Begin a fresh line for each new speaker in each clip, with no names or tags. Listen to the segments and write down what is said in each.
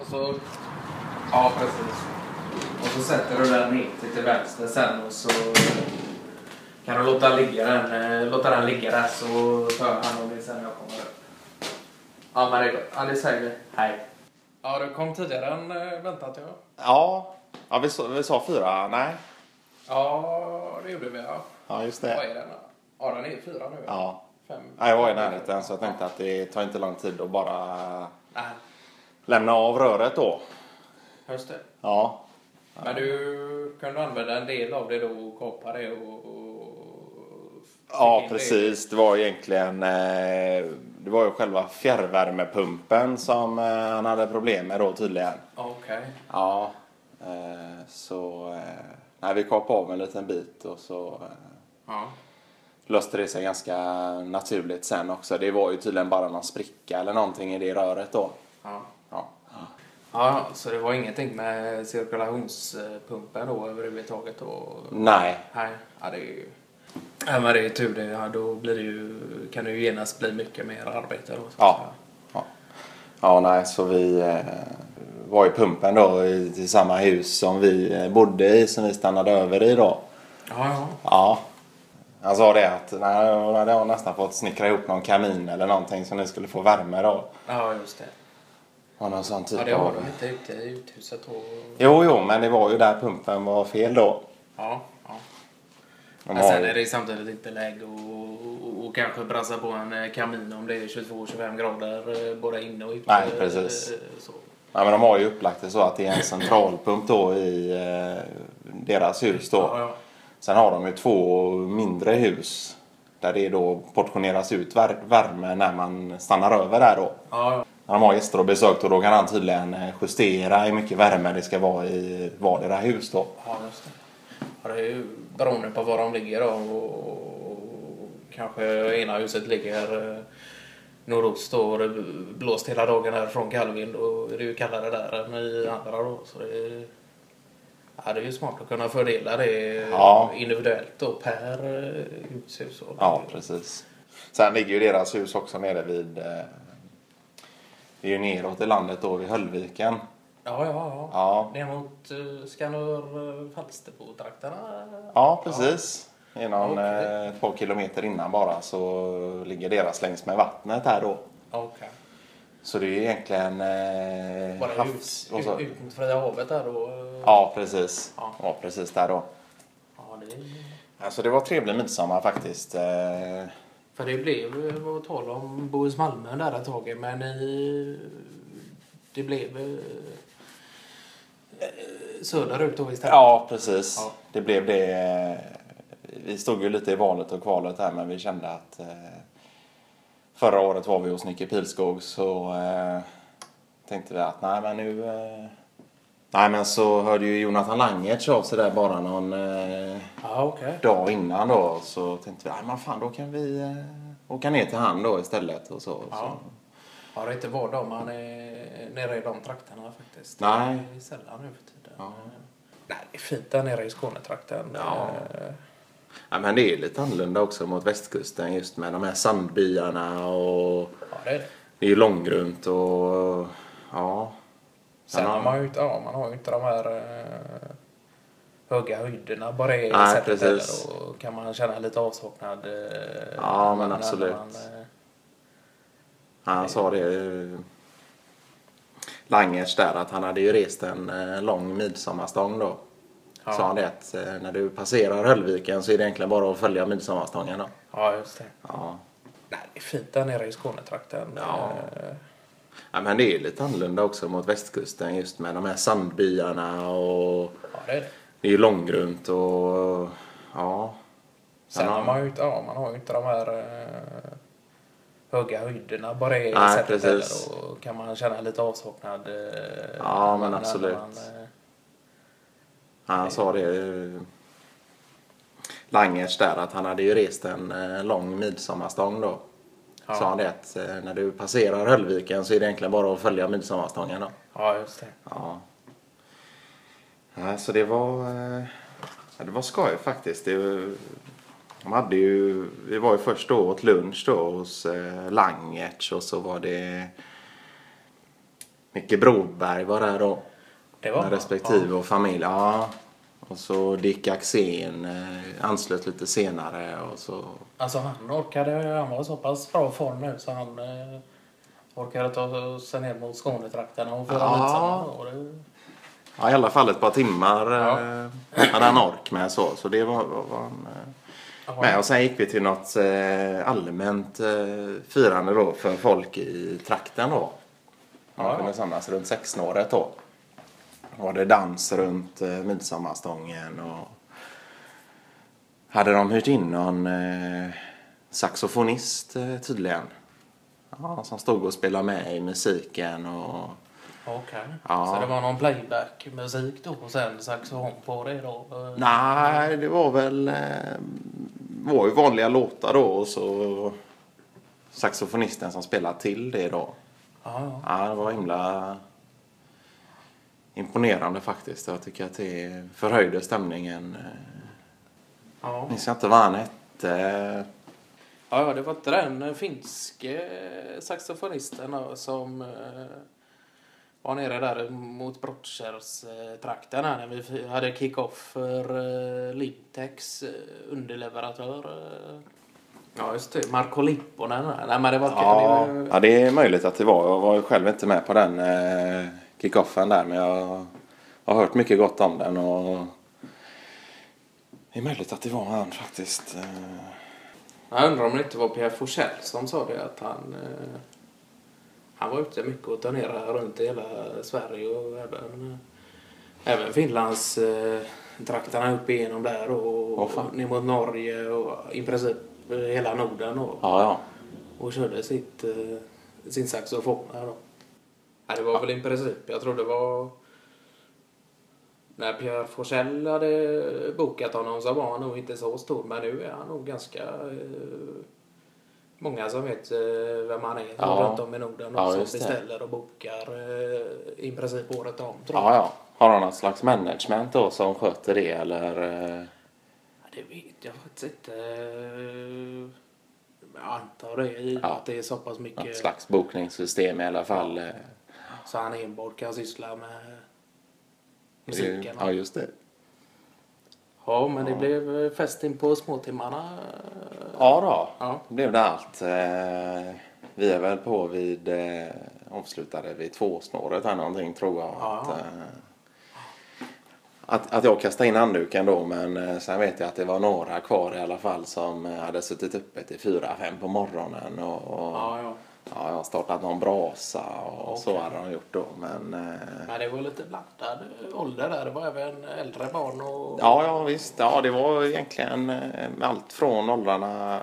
Och så... Ja, precis. Och så sätter du den lite till vänster sen och så kan du låta, ligga den, eh, låta den ligga där så tar jag hand om det sen när jag kommer upp. Ja, men det är gott. Ja, det säger vi. Hej. Ja, du kom tidigare än eh, väntat, ja.
Ja, ja vi, sa, vi sa fyra. Nej.
Ja, det gjorde vi, ja.
Ja, just
Vad
det.
är den? Ja, den är fyra nu.
Ja.
Fem.
Ja, jag var i närheten så jag tänkte att det tar inte lång tid att bara
Nej,
lämna av röret då.
just det.
Ja.
Men du kunde använda en del av det då och kapa det och... och
Ja,
fick in det.
precis. Det var egentligen eh, det var ju själva fjärrvärmepumpen som eh, han hade problem med då tydligen.
Okej.
Ja, eh, så eh, nej, vi kapade av en liten bit och så eh,
Ja.
löste det sig ganska naturligt sen också. Det var ju tydligen bara någon spricka eller någonting i det röret då.
ja.
Ja,
Ja, så det var ingenting med cirkulationspumpen då överhuvudtaget? Och...
nej,
Nej, ja, det är ju... Ja, men det är ju tur det. Ja, då blir det ju... kan det ju genast bli mycket mer arbete då. så att
Ja.
säga.
Ja, ja nej, så vi eh, var i pumpen då i, i samma hus som vi eh, bodde i, som vi stannade över i då.
Ja, ja.
Ja. Han sa det att nej, hon hade nästan fått snickra ihop någon kamin eller någonting så ni skulle få värme då.
Ja, just det.
Och någon sån typ
Ja, det har
av...
de inte ute i uthuset och...
Jo, jo, men det var ju där pumpen var fel då.
Ja, ja.
De
Men sen
har ju-
är det samtidigt inte läge och, och, och kanske brassa på en eh, kamin om det är 22-25 grader eh, både inne och ute.
Nej, precis.
Eh, Så.
Ja, men de har ju upplagt det så att det är en centralpump då i eh, deras hus då.
Ja, ja.
Sen har de ju två mindre hus där det då portioneras ut vär- värme när man stannar över där då.
Ja,
När de har gäster och besök då, då kan han tydligen eh, justera hur mycket värme det ska vara i vardera hus då.
ja, just det. Ja, det är ju beroende på var de ligger då. Och, och kanske ena huset ligger eh, nordost då och det blåst hela dagen här från kallvind och det är ju kallare där än i andra då. Så det är, ja, det är ju smart att kunna fördela det
Ja.
individuellt då per eh, hus. och-
Ja, precis. Sen ligger ju deras hus också nere vid... Eh, det är ju neråt i landet då, vid Höllviken.
Ja, ja, ja.
Ja,
Ner mot uh, Skanör-Falsterbo-trakterna?
ja precis. Genom
Okej.
eh, två kilometer innan bara så ligger deras längs med vattnet här då.
Ja, Okej.
Så det är ju egentligen... Eh,
Bara
havs-
ut,
och så-
ut, ut mot Fria havet där då? eh.
Ja, precis.
Ja.
Ja, precis där då.
ja det,
Alltså det var trevlig midsommar faktiskt. Eh,
för det blev ju vad tal om Bohus Malmö där ett tag, men i, det blev eh, eh, söderut då istället?
Ja, precis.
Ja.
Det blev det. eh, Vi stod ju lite i valet och kvalet här men vi kände att eh, förra året var vi hos Nicke Pilskog så eh, tänkte vi att nej men nu... Eh, nej men så hörde ju Jonathan Langertz av sig där bara någon eh,
Ja, okej.
dag innan då så tänkte vi nej men fan då kan vi eh, åka ner till han då istället och så.
Ja.
så.
Ja, det är inte var dag man är nere i de trakterna faktiskt.
Nej.
Det är sällan nu för tiden.
Ja.
Nej, det är fint där nere i Skånetrakten.
Ja.
Eh,
Ja, men det är ju lite annorlunda också mot västkusten just med de här sandbyarna och
ja det är det.
Det är ju långgrunt och ja.
Sen
Ja.
har man ju inte, ja, man har ju inte de här eh, höga höjderna bara i
Nej,
sättet
precis.
heller, och kan man känna lite avsaknad. eh,
Ja, men
när
absolut.
eh,
Han sa det. eh, Langers där att han hade ju rest en eh, lång midsommarstång då.
Ja.
Sa han det att eh, när du passerar Höllviken så är det egentligen bara att följa midsommarstången då.
ja, just det.
Ja.
Nej, det är fint där nere i Skånetrakten.
Ja.
Eh,
ja men det är ju lite annorlunda också mot västkusten just med de här sandbyarna och
ja, det är det.
det är ju långgrunt och ja.
Sen
Ja.
har man ju inte, ja, man har ju inte de här eh, höga höjderna bara i
Nej,
sättet
precis.
heller, och kan man känna lite avsaknad. eh,
Ja, men
när
absolut.
man, eh,
Han sa det... eh, Langers där att han hade ju rest en eh, lång midsommarstång då.
Ja.
Sa han det att eh, när du passerar Höllviken så är det egentligen bara att följa midsommarstången då.
ja, just det.
Ja. ja så det var... eh, Ja, det var skoj faktiskt. Det, De hade ju, vi var ju första året lunch då hos eh, Langertz och så var det Micke Broberg var där då.
Det
Med respektive och familj. Ja. Och så Dick Axén eh, anslöt lite senare och så.
Alltså han orkade, han var i så pass bra form nu så han eh, orkade ta sig ner mot Skånetrakterna och föra
Ja.
ja. samma år. Det-
Ja, i alla fall ett par timmar eh, hade han ork med så. Så det var, var, var han eh, med. Och sen gick vi till något eh, allmänt eh, firande då för folk i trakten då. Man
Ja.
kunde samlas runt sexsnåret då. Då var det dans runt eh, midsommarstången och hade de hyrt in någon eh, saxofonist eh, tydligen. Ja, som stod och spelade med i musiken och
Okej.
Ja.
Så det var någon playback-musik då och sen saxofon på det då? Eh,
Nej, det var väl eh, var ju vanliga låtar då och så saxofonisten som spelade till det då.
Ja, ja.
Ja, det var himla imponerande faktiskt. Jag tycker att det förhöjde stämningen. Eh,
ja.
Minns jag inte vad han hette.
Ja, ja, det var inte den finske saxofonisten då, som eh, var nere där mot Brottkärrstrakten här när vi f- hade kick-off för eh, Lintex eh, underleverantör. Eh. Ja, just det. Marko Lipponen. här. Nej, men det var
Ja,
det-
ja, det är möjligt att det var. Jag var ju själv inte med på den eh, kickoffen där men jag har hört mycket gott om den och det är möjligt att det var han faktiskt. Eh,
Jag undrar om det inte var Pierre Forsell som sa det att han eh, han var ute mycket och turnerade runt i hela Sverige och även, eh, även Finlands eh, trakterna upp igenom där och,
Åh, fan.
och ner mot Norge och i princip eh, hela Norden och,
Ja, ja.
och körde sitt, eh, sin saxofon här då. Ja, det var väl i princip, jag tror det var när Pierre Forsell hade bokat honom så var han nog inte så stor men nu är han nog ganska eh, många som vet eh, vem han är
Ja.
runt om i Norden och
Ja,
som
just det.
beställer och bokar eh, i princip året om tror jag.
Ja, ja. Har de något slags management då som sköter det eller? eh?
Ja, Det vet jag faktiskt inte. Eh, Jag antar det i och med
Ja.
att det är så pass
Något
mycket
slags bokningssystem i alla fall. eh.
Så han enbart kan syssla med
Det-
musiken.
Ja, just det.
Ja, men det blev eh, fest in på småtimmarna.
Ja då,
Ja.
då blev det allt. Eh, Vi är väl på vid, eh, avslutade vid tvåsnåret här någonting tror jag.
Ja.
Att, eh, att, att jag kastade in handduken då men eh, sen vet jag att det var några kvar i alla fall som eh, hade suttit uppe till fyra, fem på morgonen och, och
Ja, ja.
Ja, jag har startat någon brasa och
Okej.
så hade de gjort då. Men eh,
Men det var lite blandad eh, ålder där. Det var även äldre barn och...
ja, ja visst. Ja, det var egentligen eh, allt från åldrarna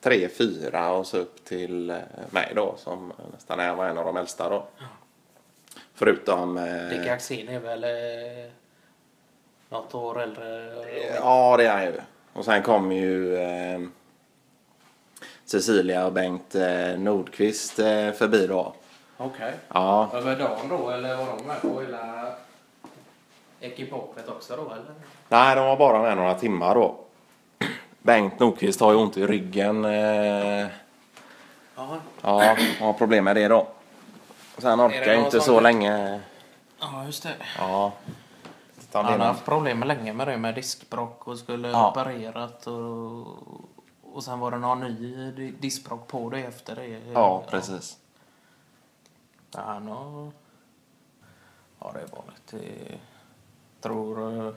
3, 4 och så upp till eh, mig då som nästan är- var en av de äldsta då. Förutom... eh,
Dick Axén är väl eh, något år äldre.
Ja, det är han ju. Och sen kom ju eh, Cecilia och Bengt eh, Nordqvist eh, förbi då.
Okej.
Ja,
Över dagen då, eller var de med på hela ekipaget också då, eller?
Nej, de var bara med några timmar då. Bengt Nordqvist har ju ont i ryggen. Eh,
Ja,
ja, har problem med det då. Så han
Är
orkar
det
ju
någon
inte
sån
så
där?
länge.
ja just det.
Ja. Utan det
Han
är
har
någon-
haft problem länge med det med diskbråck och skulle
Ja.
opererat och, och sen var det någon ny di- diskbråck på det efter det.
Ja, precis.
Ja, han har... Ja, det är vanligt. Det tror... eh,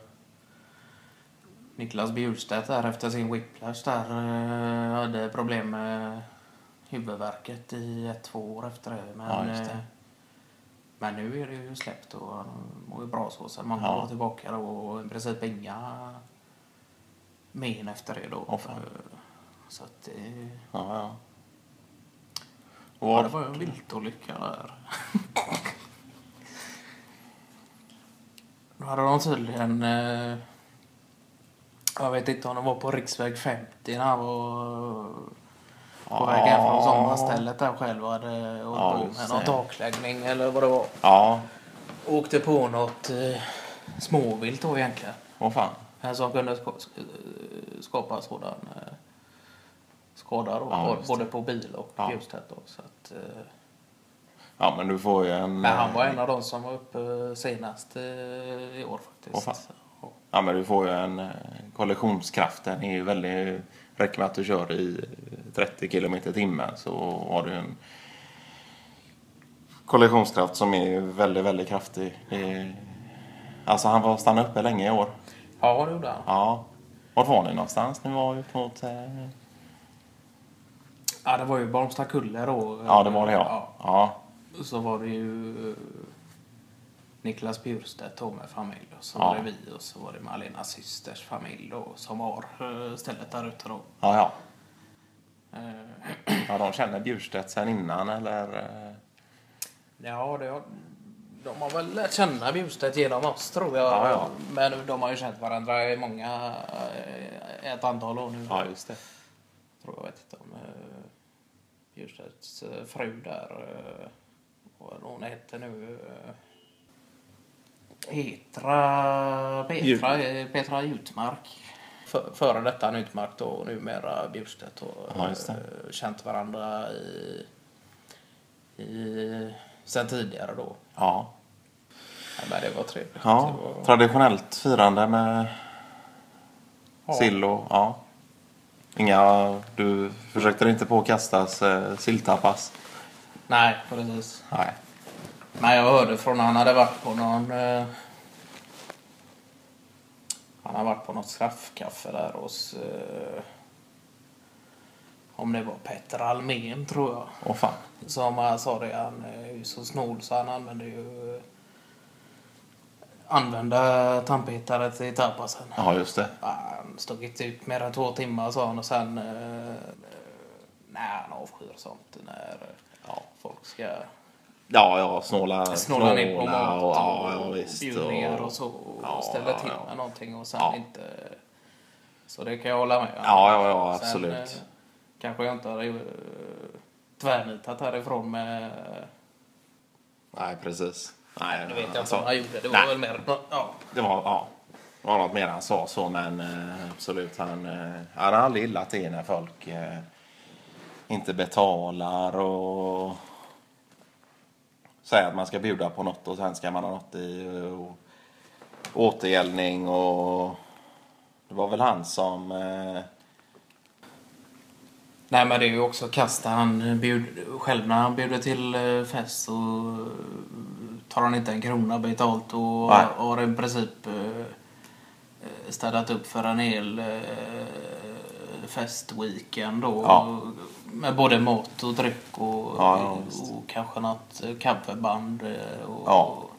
Niklas Bjurstedt där efter sin whiplash där eh, hade problem med huvudvärket i ett, två år efter det. Men,
Ja, just det.
eh, men nu är det ju släppt och han mår ju bra så sen många
Ja.
år tillbaka då, och i princip inga men efter det då.
Åh, fan.
Eh, Så att det...
Ja, ja.
Ja,
Och
det var ju en viltolycka där. Då hade de tydligen... Eh, jag vet inte om de var på riksväg 50 när han var på väg hem från
Ja.
sommarstället där själv och hade hållit
Ja,
på
just
med någon
det.
takläggning eller vad det var.
Ja,
Åkte på något eh, småvilt då egentligen.
vad fan.
eh, som kunde ska- sk- eh, skapa sådan eh, skada då,
Ja,
både-
just det.
både på bil och
Ja.
ljustätt. Då, så att, eh,
Ja, men du får ju en...
men han var
eh,
en av de som var uppe senast eh, i år faktiskt.
Åh, fan.
Ja.
Ja, men du får ju en... eh, Kollektionskraften är ju väldigt... Räcker med att du kör i 30 kilometer i timmen så har du en kollektionskraft som är väldigt, väldigt kraftig. Det är- Alltså han var stanna uppe länge i år.
Ja, det gjorde han.
Ja. Vart var ni någonstans? Ni var ut mot... eh,
Ja, det var ju Barnstakulle då. eh,
Ja, det var det ja.
Ja.
Ja.
Så var det ju eh, Niklas Bjurstedt då med familj och så
Ja.
var det vi och så var det Malenas systers familj då som har eh, stället där ute då.
Ja, ja.
Eh,
Ja, de känner Bjurstedt sen innan eller? eh,
Ja, det har, de har väl lärt känna Bjurstedt genom oss tror jag.
Ja, ja.
Men de har ju känt varandra i många, eh, ett antal år nu.
Ja, just det.
Tror jag vet inte om eh, Bjurstedts eh, fru där, eh, vad hon heter nu, eh, Petra, Petra, eh, Petra Jutmark. För, före detta Jutmark då och numera Bjurstedt och
Ja, just det.
eh, känt varandra i, i, sen tidigare då.
Ja.
Ja, men det var trevligt.
ja.
Det var,
Traditionellt firande med
Ja.
sill och... Ja. Inga... Du försökte dig inte på att kastas eh, silltapas?
nej, precis.
Nej.
Men jag hörde från han hade varit på någon... Eh, han hade varit på något straffkaffe där hos... Eh, om det var Petter Almén, tror jag.
Åh fan.
Som han sa det, han är ju så snål så han använder ju... Eh, använda tandpetare till tapasen.
Ja, just det.
Han stod inte ut mer än två timmar sa han och sen... Eh, eh, nej, han avskyr sånt när eh, ja, folk ska
Ja, ja. Snåla...
snålar in på
snåla
mat och,
och, ja, ja, visst,
bjudningar och så och
Ja,
ställer till
ja, ja.
med någonting och sen
Ja.
inte... Så det kan jag hålla med om.
Ja, ja, ja, absolut.
Sen, eh, kanske jag inte hade eh, tvärnitat härifrån med...
Nej, precis. Nej,
Nu vet jag inte
alltså,
vad han gjorde. Det var
nej.
väl mer... Ja.
Det var, ja. Det var något mer han sa så, men eh, absolut. Han, eh, han har aldrig gillat det när folk eh, inte betalar och säger att man ska bjuda på något och sen ska man ha något i och, återgällning och det var väl han som... Eh,
Nej men det är ju också kasta han bjud, själv när han bjuder till eh, fest så eh, tar han inte en krona betalt och
Nej.
har i princip eh, eh, städat upp för en hel eh, festweekend då.
Ja.
Med både mat och dryck och,
Ja, ja, visst.
och kanske något eh, coverband eh, och,
Ja.
och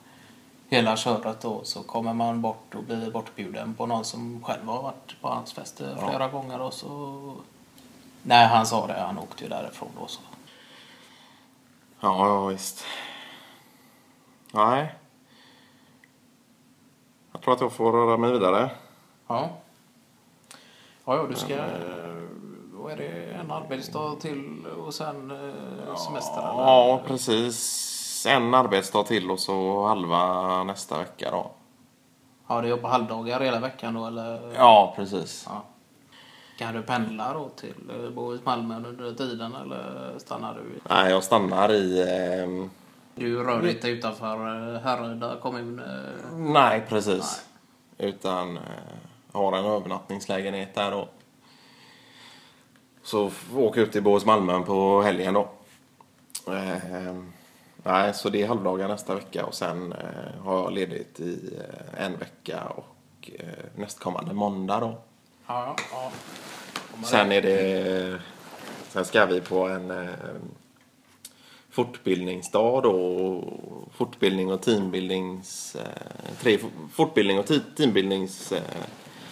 hela köret då. Så kommer man bort och blir bortbjuden på någon som själv har varit på hans fester flera gånger och så Nej, han sa det. Han åkte ju därifrån då. Så.
ja, ja, visst. Nej. Jag tror att jag får röra mig vidare.
Ja. Ja, ja, du ska... Vad är det? En arbetsdag till och sen eh, semester? eller?
Ja, precis. En arbetsdag till och så halva nästa vecka då.
ja, du jobbar halvdagar hela veckan då, eller?
Ja, precis.
Ja. Kan du pendla då till eh, Bohus Malmö under tiden, eller stannar du? i-
Nej, jag stannar i... ehm,
Du rör dig inte utanför eh, Härryda kommun? eh.
Nej, precis. Utan eh, har en övernattningslägenhet där då. Så f- åker jag ut till Bohus Malmön på helgen då. Ehm, nej, så det är halvdagar nästa vecka och sen eh, har jag ledigt i eh, en vecka och eh, nästkommande måndag då.
Ja, ja. Kommer
Sen är det... Sen ska vi på en eh, fortbildningsdag då. och Fortbildning och teambildnings... Eh, tre fo- fortbildning och ti- teambildnings... Eh,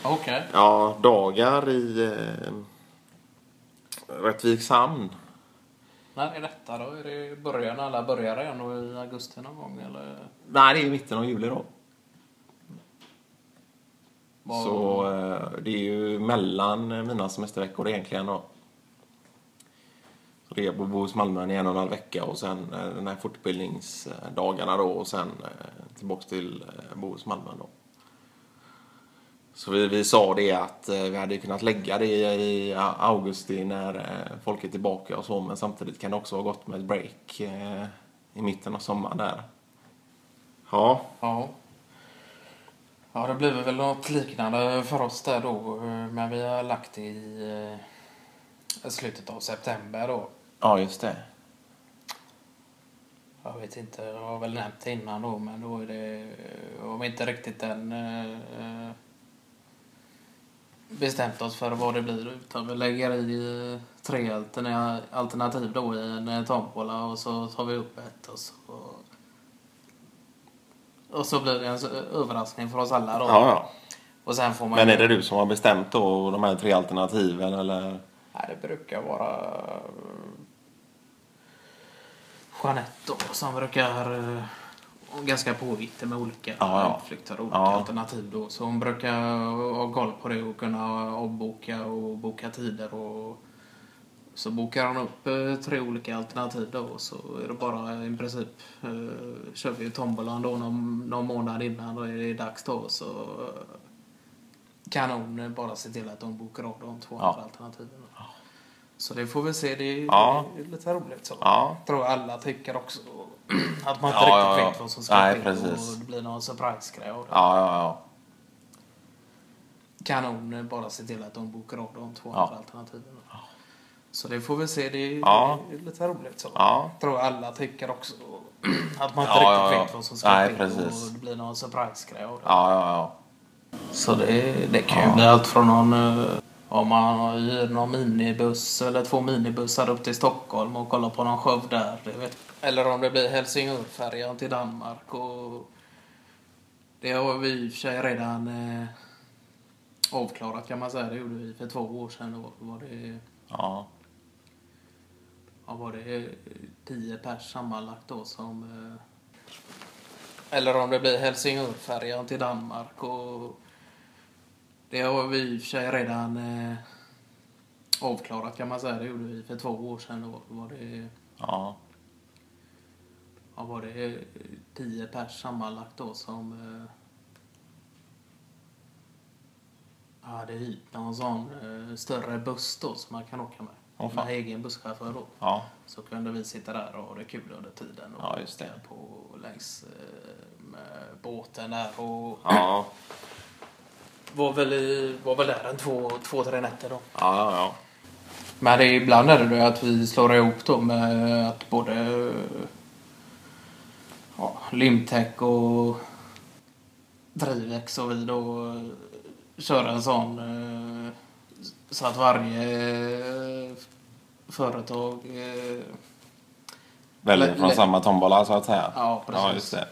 Okej.
ja, dagar i eh, Rättvikshamn.
När är detta då? Är det i början? Alla börjar redan då i augusti någon gång, eller?
Nej, det är i mitten av juli då.
Vad-
Så eh, det är ju mellan eh, mina semesterveckor egentligen då. Så det är på Bohus Malmön i en och en halv vecka och sen eh, den här fortbildningsdagarna då och sen eh, tillbaks till eh, Bohus Malmön då. Så vi, vi sa det att eh, vi hade kunnat lägga det i, i augusti när eh, folk är tillbaka och så men samtidigt kan det också vara gott med ett break eh, i mitten av sommaren där. Ja,
Ja. Ja, det blir väl något liknande för oss där då. Eh, Men vi har lagt det i eh, slutet av september då.
ja just det.
Jag vet inte, jag har väl nämnt det innan då, men då är det eh, om inte riktigt den eh, eh, bestämt oss för vad det blir utan vi lägger i eh, tre alterna- alternativ då i en eh, tombola och så tar vi upp ett och så och så blir det en s- överraskning för oss alla då.
Ja, ja.
Och sen får man
Men är det du som har bestämt då de här tre alternativen eller?
Nej, det brukar vara eh, Jeanette då, som brukar eh, hon är ganska påhittig med olika
Ja, ja.
utflykter och olika
Ja.
alternativ då. Så hon brukar ha koll på det och kunna avboka och boka tider och så bokar hon upp eh, tre olika alternativ då och så är det bara i princip eh, kör vi ju tombolan då någon, någon månad innan då är det dags då så eh, kan hon eh, bara se till att de bokar av de två
Ja.
andra alternativen. Så det får vi se, det är,
Ja.
det är lite roligt så.
Ja,
Jag tror alla tycker också att man inte
Ja,
riktigt
ja, ja.
vet vad som ska
Nej,
till
precis.
och det blir någon surprise-grej av det.
ja, ja. ja.
Kan hon eh, bara se till att de bokar av de två
Ja.
andra alternativen. Så det får vi se, det är,
Ja.
det är lite roligt så.
ja.
Jag tror alla tycker också att man inte
Ja,
riktigt
ja, ja.
vet vad som ska
Nej,
till
precis.
och det blir någon surprise-grej av det.
Ja, ja, ja.
Så det, det kan ju
Ja.
bli allt från någon, eh, om man hyr någon minibuss eller två minibussar upp till Stockholm och kollar på någon show där. det Vet. Eller om det blir Helsingörfärjan till Danmark. Och det har vi i och för sig redan eh, avklarat kan man säga. Det gjorde vi för två år sedan. Då var det,
ja.
ja, var det eh, tio pers sammanlagt då som... Eh, eller om det blir Helsingörfärjan till Danmark och... Det har vi i och för sig redan eh, avklarat kan man säga. Det gjorde vi för två år sedan. Då var det,
ja.
ja, var det eh, tio pers sammanlagt då som eh, hade hyrt någon sån eh, större buss då som man kan åka med.
Åh, fan.
med egen busschaufför då.
Ja,
Så kunde vi sitta där och ha det kul under tiden. Och
Ja, just det.
åka På, längs eh, med båten där och
ja,
var väl, i, var väl där en två, två, tre nätter då.
ja, ja.
Men det är ibland är det ju att vi slår ihop då med att både eh, ja, Limtech och Drivex och vi då eh, kör en sån eh, så att varje eh, företag eh,
Väljer
Lä-
från
lä-
samma tombola så att säga.
Ja, precis.
Ja, just det.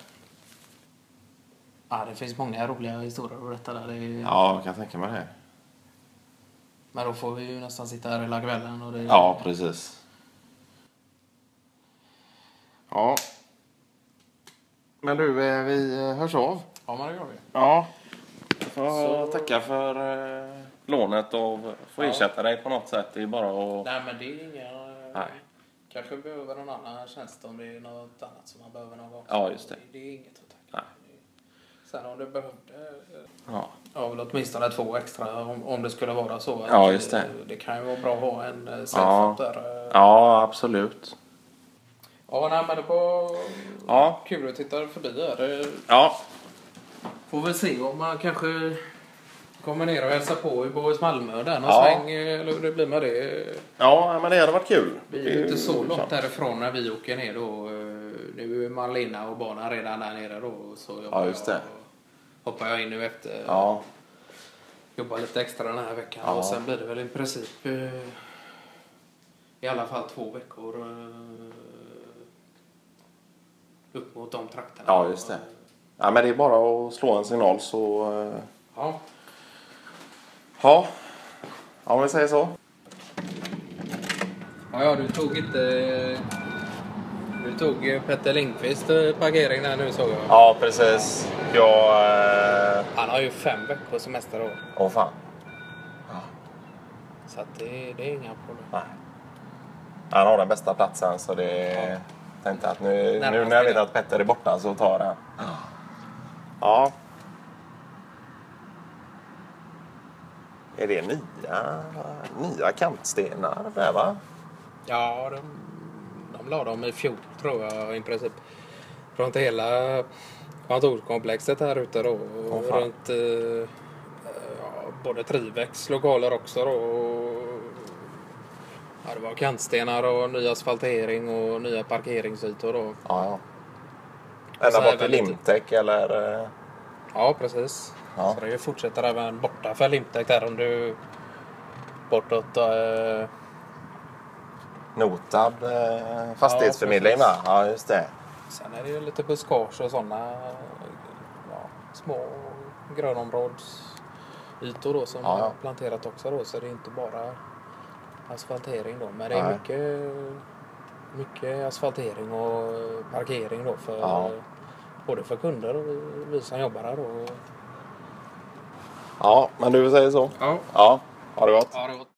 Ja, det finns många roliga historier att berätta där. Det är...
Ja, jag kan tänka mig det.
Men då får vi ju nästan sitta här hela kvällen. Och det...
Ja, precis. Ja. Men du, eh, vi eh, hörs av.
ja, men det gör vi.
Ja. Jag får tacka för eh, lånet och få ersätta dig på något sätt. Det är bara att...
Nej, men det är inga...
Nej.
Kanske behöver någon annan tjänst om det är något annat som man behöver någon gång.
Ja, just det.
Det är inget att tacka.
Nej.
Sen om du behövde... eh,
Ja.
Ja, väl åtminstone två extra om, om det skulle vara så. Att,
Ja, just det.
eh, Det kan ju vara bra att ha en eh, setup där. eh.
ja, absolut.
Ja, nej, men det var
Ja.
kul att titta förbi här. Eh,
Ja,
Får väl se om man kanske kommer ner och hälsar på i Bohus Malmö där någon
Ja.
sväng eh, eller hur det blir med det.
ja men det hade varit kul.
Vi är ju inte så långt
sant.
därifrån när vi åker ner då. Eh, Nu är Malina och barnen redan där nere då. Så jobbar
Ja, just det.
Jag, hoppar jag in nu efter.
Ja.
Jobbar lite extra den här veckan
Ja.
och sen blir det väl i princip eh, i alla fall två veckor eh, upp mot de trakterna.
Ja, just det. Ja, men det är bara att slå en signal så... eh,
Ja.
Ja, ja om vi säger så.
Ja, ja, du tog inte... Du tog eh, Petter Lindqvist eh, parkering där nu såg jag.
Ja, precis. Jag... eh,
Han har ju fem veckor semester då.
Åh fan.
Så att det, det är inga problem.
Nej. Han har den bästa platsen så det... Tänkte att nu,
Närmast
nu när jag vet
det.
att Petter är borta så tar jag den. Ja. Är det nya, nya kantstenar där va?
Ja, de, de la dem i fjol tror jag i princip. Runt hela kontorskomplexet här ute då. Och
Åh, fan.
runt eh, ja, både Trivex lokaler också då. Och, ja, det var kantstenar och ny asfaltering och nya parkeringsytor då.
Ja, ja.
Så
Ända
är
bort till
väl lite-
Limtech eller... eh,
Ja, precis.
Ja.
Så det fortsätter även borta för Limtek där om du bortåt eh,
Notab eh, fastighetsförmedling va? Ja, just det.
Sen är det ju lite buskage och sådana ja, små grönområdesytor då som
Ja, ja.
är planterat också då så det är inte bara asfaltering då men det är
Nej.
mycket, mycket asfaltering och parkering då för
Ja.
både för kunder och vi som jobbar här då.
Ja, men du säger så.
Ja,
Ja, ha det gott.
ja det var